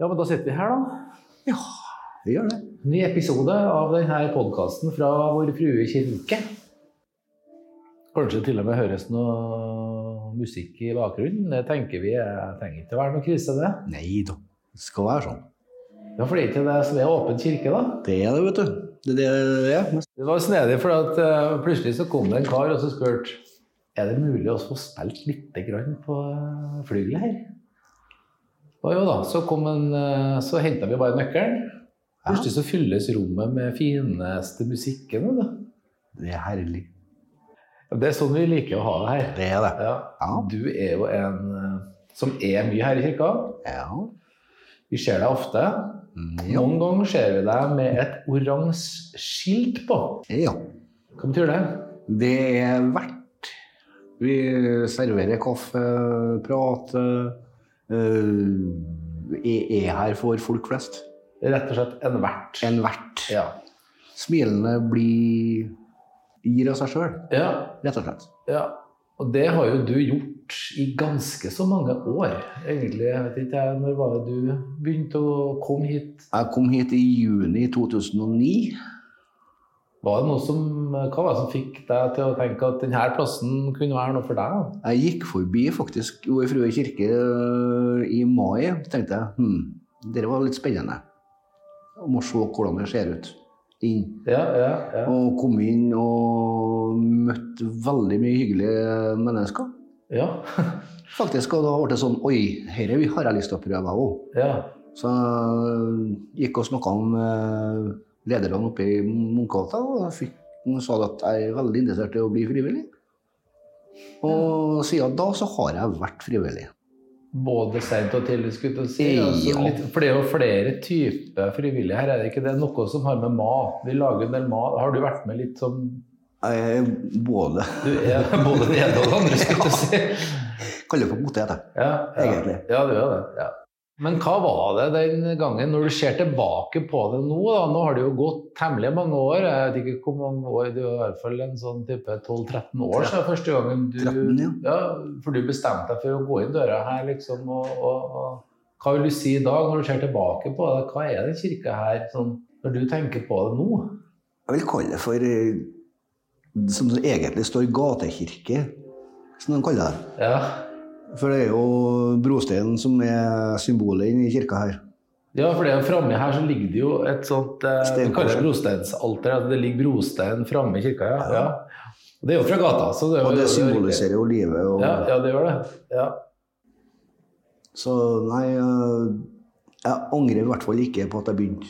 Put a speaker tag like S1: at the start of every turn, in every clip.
S1: Ja, men da sitter vi her, da.
S2: Ja, vi gjør det.
S1: Ny episode av denne podkasten fra Vår Frue kirke. Kanskje til og med høres noe musikk i bakgrunnen. Det tenker vi eh, trenger ikke å være noe krise, det.
S2: Nei da, det skal være sånn.
S1: Ja, for det er ikke det som er åpen kirke, da.
S2: Det er det, vet du. Det, det, det er det.
S1: Det var snedig, for at, eh, plutselig så kom det en kar og så spurte er det mulig å få spilt litt grann på eh, flygelet her. Og jo da, så, kom en, eh, så henta vi bare nøkkelen.
S2: Ja.
S1: Plutselig så fylles rommet med fineste musikken. Da.
S2: Det er herlig.
S1: Det er sånn vi liker å ha det her.
S2: Det er det.
S1: Ja.
S2: Ja.
S1: Du er jo en eh, som er mye her i kirka.
S2: Ja.
S1: Vi ser deg ofte.
S2: Mm, Ja.
S1: Noen ganger ser vi deg med et oransje skilt på.
S2: ja.
S1: Hva betyr det?
S2: Det er verdt. Vi serverer kaffe, prater. eh, er er her for folk flest.
S1: Rett og slett en vert.
S2: En vert.
S1: Ja.
S2: Smilende blir gir av seg sjøl,
S1: ja.
S2: rett og slett.
S1: Ja, og det har jo du gjort i ganske så mange år, egentlig. Jeg vet ikke, jeg, når var det du begynte å komme hit?
S2: Jeg kom hit i juni 2009.
S1: Var det noe som, hva var det som fikk deg til å tenke at denne plassen kunne være noe for deg?
S2: Jeg gikk forbi faktisk Vår Frue kirke øh, i mai. tenkte jeg hm, dette var litt spennende. Jeg må se hvordan det ser ut. Inn.
S1: Ja, ja, ja.
S2: Og kom inn og møtte veldig mye hyggelige mennesker.
S1: Ja,
S2: Faktisk, Og da ble det sånn Oi, dette har jeg lyst til å prøve, jeg òg.
S1: ja.
S2: Så jeg gikk og snakka med eh, lederne oppe i Munkegata, og jeg fikk, de sa at jeg er veldig interessert i å bli frivillig. Og siden da så har jeg vært frivillig.
S1: Både sent og tidlig, skulle jeg til å si. Altså,
S2: Ja.
S1: litt, for det er jo flere typer frivillige her, er det ikke det? Noe som har med mat. Vi lager en del mat. Har du vært med litt som
S2: Jeg er både
S1: Du er både det ene og det andre, skulle jeg til å si.
S2: Kaller det for potet, jeg.
S1: Ja, ja.
S2: Egentlig.
S1: Ja, det gjør det. Ja. Men hva var det den gangen, når du ser tilbake på det nå? da, Nå har det jo gått temmelig mange år. Jeg vet ikke hvor mange år, det er i hvert fall en sånn type 12-13 år siden første gangen du
S2: 13, ja.
S1: ja, For du bestemte deg for å gå inn døra her, liksom. Og, og, og hva vil du si i dag, når du ser tilbake på det? Hva er den kirka her, sånn, når du tenker på det nå?
S2: Jeg vil kalle det for eh, Som det egentlig står gatekirke, som de kaller det.
S1: Ja,
S2: For det er jo brosteinen som er symbolet inne i kirka her.
S1: ja for det er framme her så ligger det jo et sånt eh, Vi kaller det brosteinsalter. Altså det ligger brostein framme i kirka, ja.
S2: Ja.
S1: ja. Og det er jo fra gata. så det er jo-
S2: Og det
S1: er jo riktig.
S2: symboliserer jo livet. Og,
S1: Ja, ja, det gjør det. Ja.
S2: Så nei, eh, jeg angrer i hvert fall ikke på at jeg begynte.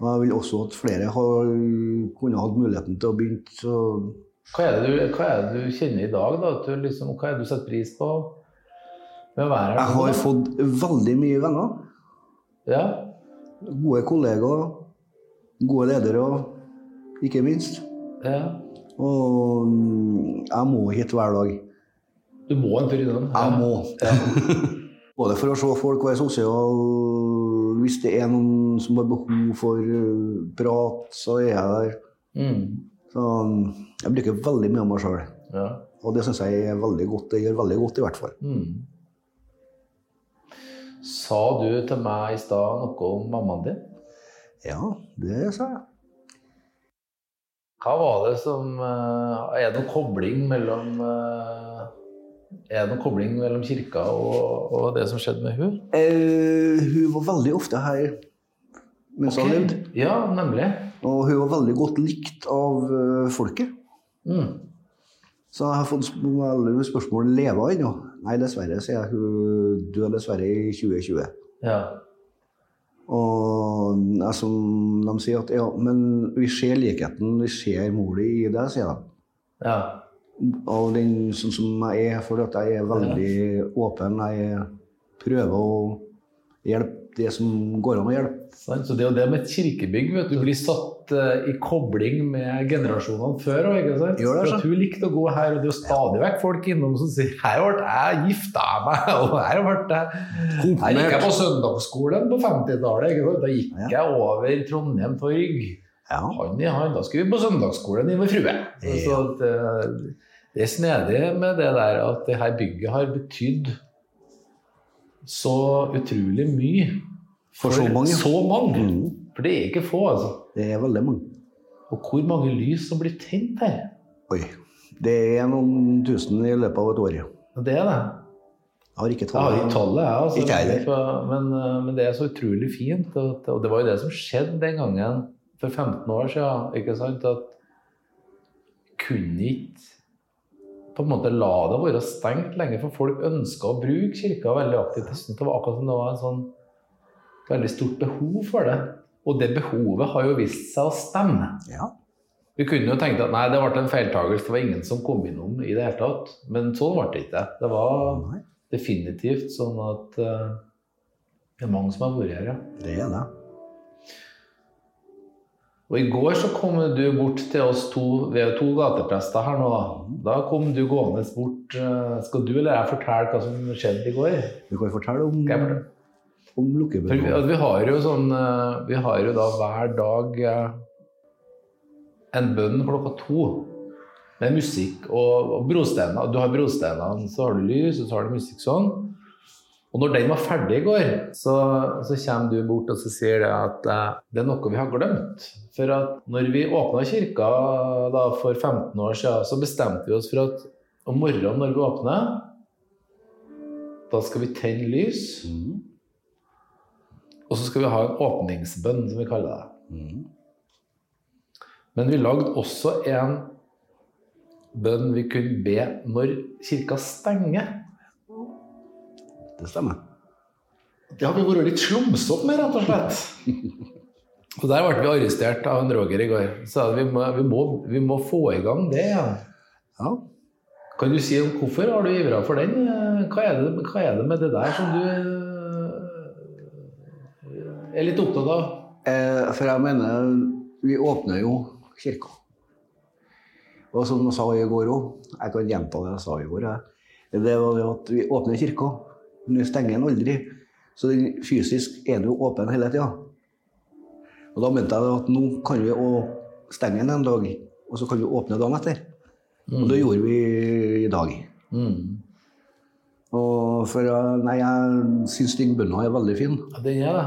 S2: Og jeg vil også at flere har, kunne hatt muligheten til å begynne. Så
S1: Hva, er det du, hva er det du kjenner i dag, da? At du liksom, hva er det du setter pris på med å være her?
S2: jeg har fått veldig mye venner.
S1: Ja,
S2: Gode kollegaer. Gode ledere, ikke minst.
S1: ja.
S2: Og mm, jeg må hit hver dag.
S1: Du må en tur innom.
S2: Jeg
S1: Ja.
S2: må. Både for å se folk være sosial, hvis det er noen som har behov for eh, prat, så er jeg der.
S1: Mm.
S2: Så mm, jeg bruker veldig mye av meg sjøl.
S1: ja.
S2: Og det syns jeg er veldig godt. Det gjør veldig godt, i hvert fall.
S1: Mm. Sa du til meg i stad noe om mammaen din?
S2: Ja, det sa jeg.
S1: Hva var det som eh, Er det noen kobling mellom eh, Er det noen kobling mellom kirka og, og det som skjedde med hun?
S2: Eh, hun var veldig ofte her mens hun levde.
S1: Ja, nemlig.
S2: Og hun var veldig godt likt av eh, folket.
S1: Mm.
S2: Så jeg har fått sp- veldig spørsmål lever hun ennå. Nei, dessverre, sier jeg. Hun døde dessverre i 2020.
S1: Ja.
S2: Og jeg som de sier at ja, men vi ser likheten, vi ser mora i deg, sier de.
S1: ja.
S2: Og den sånn som jeg er, for at jeg er veldig åpen. Jeg prøver å hjelpe det som går an å hjelpe.
S1: Sant? Så det er jo det med et kirkebygg. Vet du, du blir satt eh, i kobling med generasjonene før òg.
S2: Gjør det, altså.
S1: For
S2: så.
S1: at hun likte å gå her, og det er jo stadig vekk folk innom som sier 'Her ble jeg gifta meg', og 'her ble jeg Her gikk jeg på søndagsskolen på 50-tallet. ikke sant? Da gikk
S2: Ja.
S1: jeg over Trondheim torg.
S2: Ja.
S1: Han i han, da skulle vi på søndagsskolen i med frue. Så, så at, eh, det er snedig med det der at det her bygget har betydd så utrolig mye
S2: For så mange.
S1: Så mange.
S2: Mhm.
S1: For det er ikke få, altså.
S2: Det er veldig mange.
S1: Og hvor mange lys som blir tent her.
S2: Oi. Det er noen tusen i løpet av et år. Jeg
S1: Og Det er det.
S2: har ikke
S1: Jeg har
S2: tallet.
S1: ikke tallet, jeg. Altså,
S2: Ikke jeg
S1: men, eh, men det er så utrolig fint. Og, og det var jo det som skjedde den gangen for 15 år siden. Ikke sant? At kunne ikke på en måte la det være stengt lenge, for folk ønska å bruke kirka veldig aktivt. Jeg synes det var akkurat som det var en sånn veldig stort behov for det. Og det behovet har jo vist seg å stemme.
S2: Ja.
S1: Vi kunne jo tenkt at nei, det ble en feiltagelse, det var ingen som kom innom i det hele tatt. Men sånn ble det ikke. Det var
S2: Nei,
S1: definitivt sånn at eh, det er mange som har vært her, ja.
S2: det er det.
S1: Og i går så kom du bort til oss to, vi er jo to gateprester her nå da. Da kom du gående bort. eh, Skal du eller jeg fortelle hva som skjedde i går?
S2: Du kan jo fortelle om,
S1: Skal jeg fortelle?
S2: om
S1: For vi,
S2: lukkebøker.
S1: altså, vi har jo sånn eh, Vi har jo da hver dag eh, en bønn klokka to med musikk og, og brosteiner. Du har brosteinene, så har du lys, og så har du musikk sånn. Og når den var ferdig i går, så, så kommer du bort og så sier det at eh, det er noe vi har glemt. For at når vi åpna kirka da, for 15 år siden, så bestemte vi oss for at om morgenen når vi åpner, da skal vi tenne lys.
S2: Mhm.
S1: Og så skal vi ha en åpningsbønn, som vi kaller det.
S2: Mhm.
S1: Men vi lagde også en bønn vi kunne be når kirka stenger.
S2: Det stemmer.
S1: Det har vi vært litt slumsete med, rett og slett. Og der ble vi arrestert av en Roger i går. Sa at vi må, vi må, vi må få i gang det igjen.
S2: Ja.
S1: Kan du si om hvorfor har du ivra for den? Hva er, det, hva er det med det der som du eh, er litt opptatt av?
S2: Eh, for jeg mener, vi åpner jo kirka. Og som jeg sa i går òg, jeg kan gjenta det jeg sa i går, jeg. det var det at vi åpner kirka, men vi stenger den aldri. Så den fysisk er den jo åpen hele tida. Og da mente jeg det at nå kan vi å stenge den en dag, og så kan vi åpne dagen etter. Og det gjorde vi i dag.
S1: Mm.
S2: Og for eh, Nei, jeg syns den bønna er veldig fin.
S1: Ja, den er det.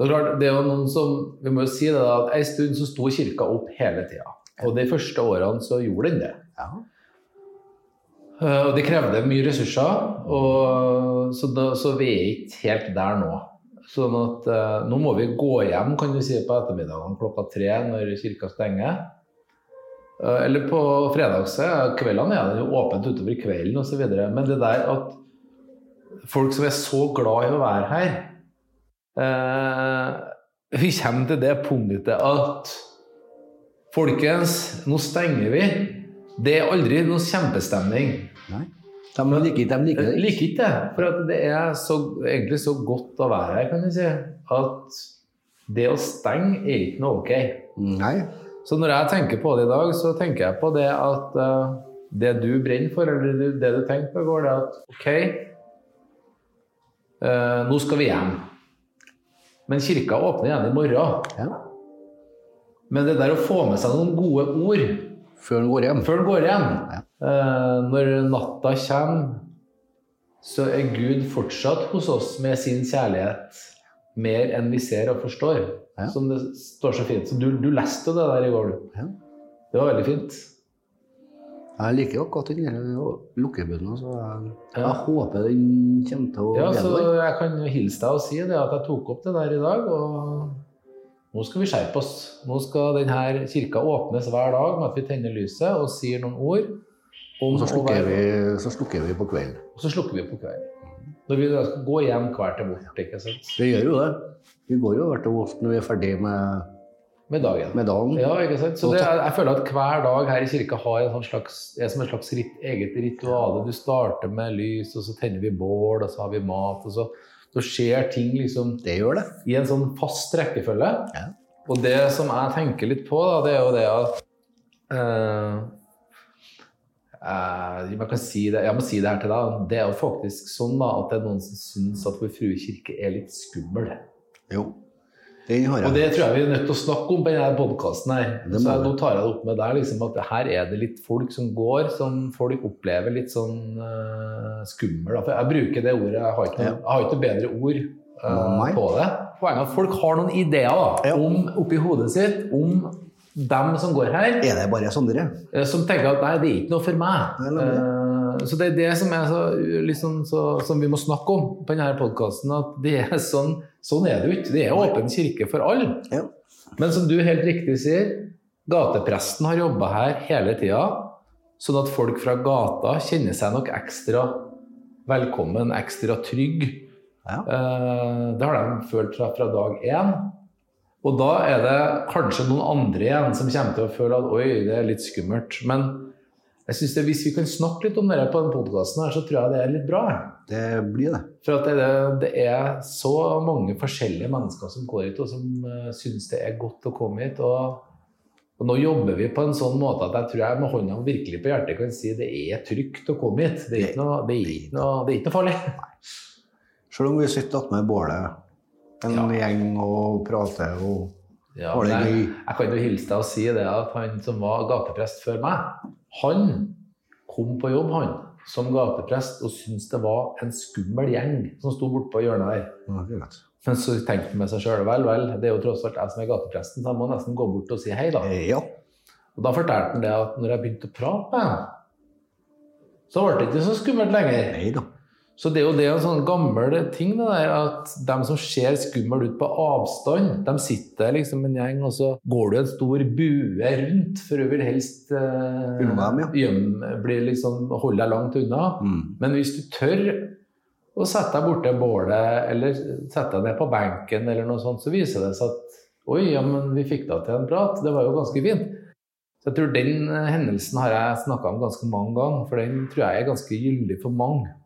S1: Det er klart, det er jo noen som, vi må jo si det da, at en stund så sto kirka opp hele tida. Og de første årene så gjorde den det.
S2: Ja.
S1: Eh, Og det krevde mye ressurser, og så, da, så vi er ikke helt der nå. Sånn at eh, nå må vi gå hjem, kan du si, på ettermiddagen klokka tre når kirka stenger. Eh, eller på fredags eh, kveldene er det jo åpent utover kvelden osv. Men det der at folk som er så glad i å være her eh, Vi kommer til det punktet at Folkens, nå stenger vi. Det er aldri noen kjempestemning.
S2: Nei. De liker, de liker det
S1: Jeg liker ikke det. For at det er så, egentlig så godt å være her, kan du si, at det å stenge er ikke noe ok.
S2: Nei.
S1: Så når jeg tenker på det i dag, så tenker jeg på det at eh, det du brenner for, eller det, det du tenker på i går, det er at ok, eh, nå skal vi hjem. Men kirka åpner igjen i morgen.
S2: Ja.
S1: Men det der å få med seg noen gode ord
S2: før den går hjem.
S1: før den går hjem,
S2: Ja.
S1: eh, når natta kommer, så er Gud fortsatt hos oss med sin kjærlighet mer enn vi ser og forstår.
S2: Ja.
S1: Som det står så fint. Så du, du leste jo det der i går, du.
S2: Ja.
S1: Det var veldig fint.
S2: Jeg liker jo godt den der lukkebønnen, så jeg,
S1: Ja.
S2: jeg håper den kommer til å
S1: Ja, så
S2: vedvare.
S1: jeg kan jo hilse deg og si det at jeg tok opp det der i dag, og nå skal vi skjerpe oss. Nå skal denne kirka åpnes hver dag med at vi tenner lyset og sier noen ord. om
S2: Og så
S1: å
S2: slukker,
S1: være-
S2: vi, så slukker vi på kvelden.
S1: Og så slukker vi på kvelden. Når vi da skal gå hjem hver til vårt, ikke sant?
S2: Vi gjør jo det. Vi går jo hvert år når vi er ferdig med,
S1: Med dagen.
S2: med dagen.
S1: Ja, ikke sant? Så det, er- jeg føler at hver dag her i kirka har en sånn slags, er som et slags rit, eget ritual. Du starter med lys, og så tenner vi bål, og så har vi mat, og så, så skjer ting liksom
S2: Det gjør det.
S1: i en sånn fast rekkefølge.
S2: Ja.
S1: Og det som jeg tenker litt på, da, det er jo det at eh, eh, jeg, kan si det, jeg må si det her til deg. Det er jo faktisk sånn da, at det er noen som syns at Vår Frue kirke er litt skummel.
S2: Jo. Den har
S1: Og
S2: jeg.
S1: det tror jeg vi er nødt til å snakke om på denne podkasten her.
S2: Det må
S1: Så jeg,
S2: vi.
S1: nå tar jeg det opp med deg, liksom, at her er det litt folk som går, som folk opplever litt sånn eh, skummel. Da. For jeg bruker det ordet, jeg har ikke noe, jeg har ikke noe bedre ord eh,
S2: Nei.
S1: på det. Poenget er at folk har noen ideer da,
S2: Ja.
S1: om, oppi hodet sitt om dem som går her,
S2: Er det bare Sondre?
S1: eh, som tenker at nei, det er ikke noe for meg.
S2: Nei, nemlig.
S1: Eh, Så det er det som, er så, liksom, så, som vi må snakke om på denne podkasten, at det er sånn, sånn er det jo ikke. Det er åpen kirke for alle.
S2: Ja.
S1: Men som du helt riktig sier, gatepresten har jobba her hele tida, sånn at folk fra gata kjenner seg nok ekstra velkommen, ekstra trygg.
S2: Ja.
S1: Eh, Det har de følt fra, fra dag én. Og da er det kanskje noen andre igjen som kommer til å føle at oi, det er litt skummelt. Men jeg synes det, hvis vi kan snakke litt om det på denne podkasten, så tror jeg det er litt bra.
S2: Det blir det.
S1: For at det, det er så mange forskjellige mennesker som går hit, og som uh, syns det er godt å komme hit. Og, og nå jobber vi på en sånn måte at jeg tror jeg med hånda virkelig på hjertet kan si det er trygt å komme hit. Det er ikke noe, det er ikke noe, det er ikke noe farlig.
S2: Selv om vi sitter attmed bålet en
S1: Ja.
S2: gjeng og prater og
S1: Ja,
S2: Var det
S1: men jeg,
S2: gøy?
S1: jeg kan jo hilse deg og si det at han som var gateprest før meg, han kom på jobb han, som gateprest og syntes det var en skummel gjeng som sto bortpå hjørnet der.
S2: Ja, det er greit.
S1: Men så tenkte han med seg sjøl vel, vel, det er jo tross alt jeg som er gatepresten, så jeg må nesten gå bort og si hei, da.
S2: Eh, Ja.
S1: Og da fortalte han det at når jeg begynte å prate med ham, så ble det ikke så skummelt lenger.
S2: Nei da.
S1: Så det er jo det en sånn gammel ting, det der, at de som ser skummel ut på avstand, de sitter liksom en gjeng, og så går du en stor bue rundt, for du vil helst eh,
S2: Unna dem, ja.
S1: gjemme, bli liksom, holde deg langt unna.
S2: Mm.
S1: Men hvis du tør å sette deg borte bålet, eller sette deg ned på benken, eller noe sånt, så viser det seg at oi, ja, men vi fikk da til en prat, det var jo ganske fint. Så jeg tror den eh, hendelsen har jeg snakka om ganske mange ganger, for den tror jeg er ganske gyldig for mange.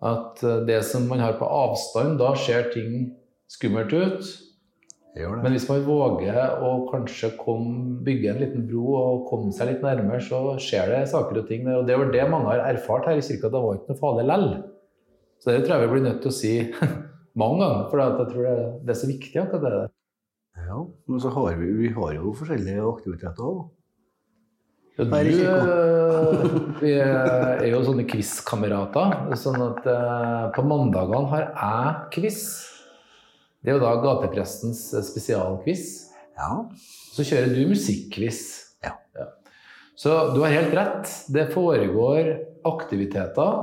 S1: At eh, det som man har på avstand, da ser ting skummelt ut.
S2: Det gjør det.
S1: Men hvis man våger å kanskje komme, bygge en liten bro og komme seg litt nærmere, så skjer det saker og ting der. Og det var det mange har erfart her i kirka, at det var ikke noe farlig lell. Så det tror jeg vi blir nødt til å si mange ganger, for at jeg tror det, det er så viktig akkurat det. der.
S2: Ja. Men så har vi, vi har jo forskjellige aktiviteter òg.
S1: Og
S2: Her i
S1: du, eh, vi er jo sånne quiz-kamerater, sånn at eh, på mandagene har jeg quiz. Det er jo da gateprestens eh, spesialquiz.
S2: Ja.
S1: Så kjører du musikkquiz.
S2: Ja.
S1: Så du har helt rett. Det foregår aktiviteter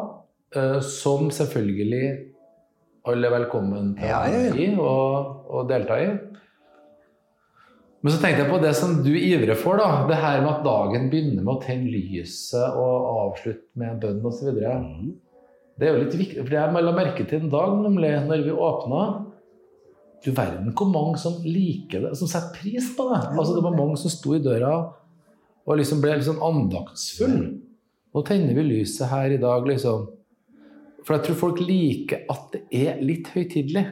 S1: eh, som selvfølgelig alle er velkommen til
S2: Ja,
S1: å
S2: ja, ja.
S1: være i og, og delta i. Men så tenkte jeg på det som du ivrer for, da. Det her med at dagen begynner med å tenne lyset og avslutte med en bønn osv.
S2: Mm.
S1: Det er jo litt viktig, for jeg la merke til en dag nemlig, når vi åpna Du verden hvor mange som liker det, som setter pris på det. Altså, det var mange som sto i døra og liksom ble litt sånn andaktsfull. Nå tenner vi lyset her i dag, liksom. For jeg tror folk liker at det er litt høytidelig.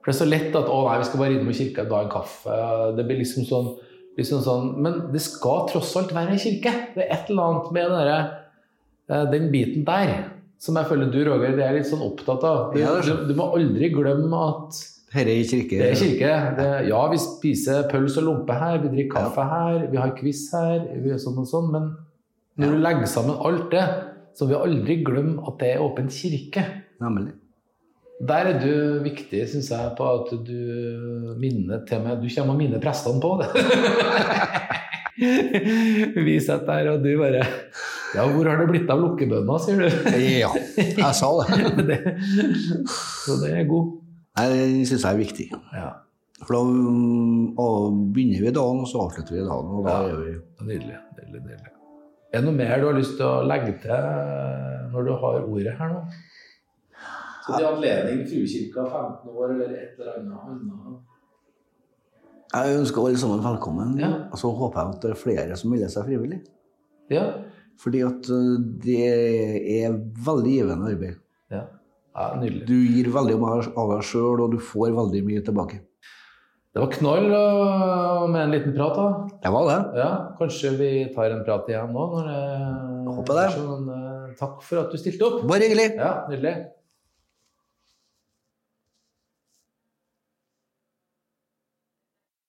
S1: For det er så lett at 'Å nei, vi skal bare innom kirka og ta en kaffe'. Det blir liksom sånn, liksom sånn Men det skal tross alt være ei kirke. Det er et eller annet med den derre Eh, den biten der, som jeg føler du, Roger, det er litt sånn opptatt av. Du,
S2: Ja, det
S1: du,
S2: skjønner.
S1: du må aldri glemme at
S2: Herre i kirke.
S1: det er kirke. Det, ja, vi spiser pølse og lompe her, vi drikker kaffe her, vi har quiz her, vi gjør sånn og sånn, men når du legger sammen alt det, så vil jeg aldri glemme at det er åpen kirke.
S2: Nemlig.
S1: Der er du viktig, syns jeg, på at du eh, minner til meg Du kommer og minner prestene på det. Vi sitter der, og du bare Ja, hvor har det blitt av lukkebønna, sier du?
S2: Ja. Jeg sa det.
S1: det, så det er god.
S2: Nei, Det syns jeg er viktig.
S1: Ja,
S2: For da mm, og begynner vi dagen, og så avslutter vi dagen. Og da
S1: Ja.
S2: er vi
S1: nydelig, nydelig, nydelig. Er det noe mer du har lyst til å legge til eh, når du har ordet her nå? Så til anledning Fruekirka 15 år eller et eller annet
S2: Jeg ønsker alle sammen velkommen.
S1: Ja.
S2: Og så håper jeg at det er flere som melder seg frivillig.
S1: Ja.
S2: Fordi at eh, det er veldig givende arbeid.
S1: ja. ja nydelig.
S2: Du gir veldig mye av deg sjøl, og du får veldig mye tilbake.
S1: Det var knall øh, med en liten prat, da.
S2: Det var det.
S1: Ja, Kanskje vi tar en prat igjen nå? Når eh, det,
S2: Håper det. Mm.
S1: Sånn, øh, takk for at du stilte opp.
S2: Bare hyggelig.
S1: Ja, nydelig.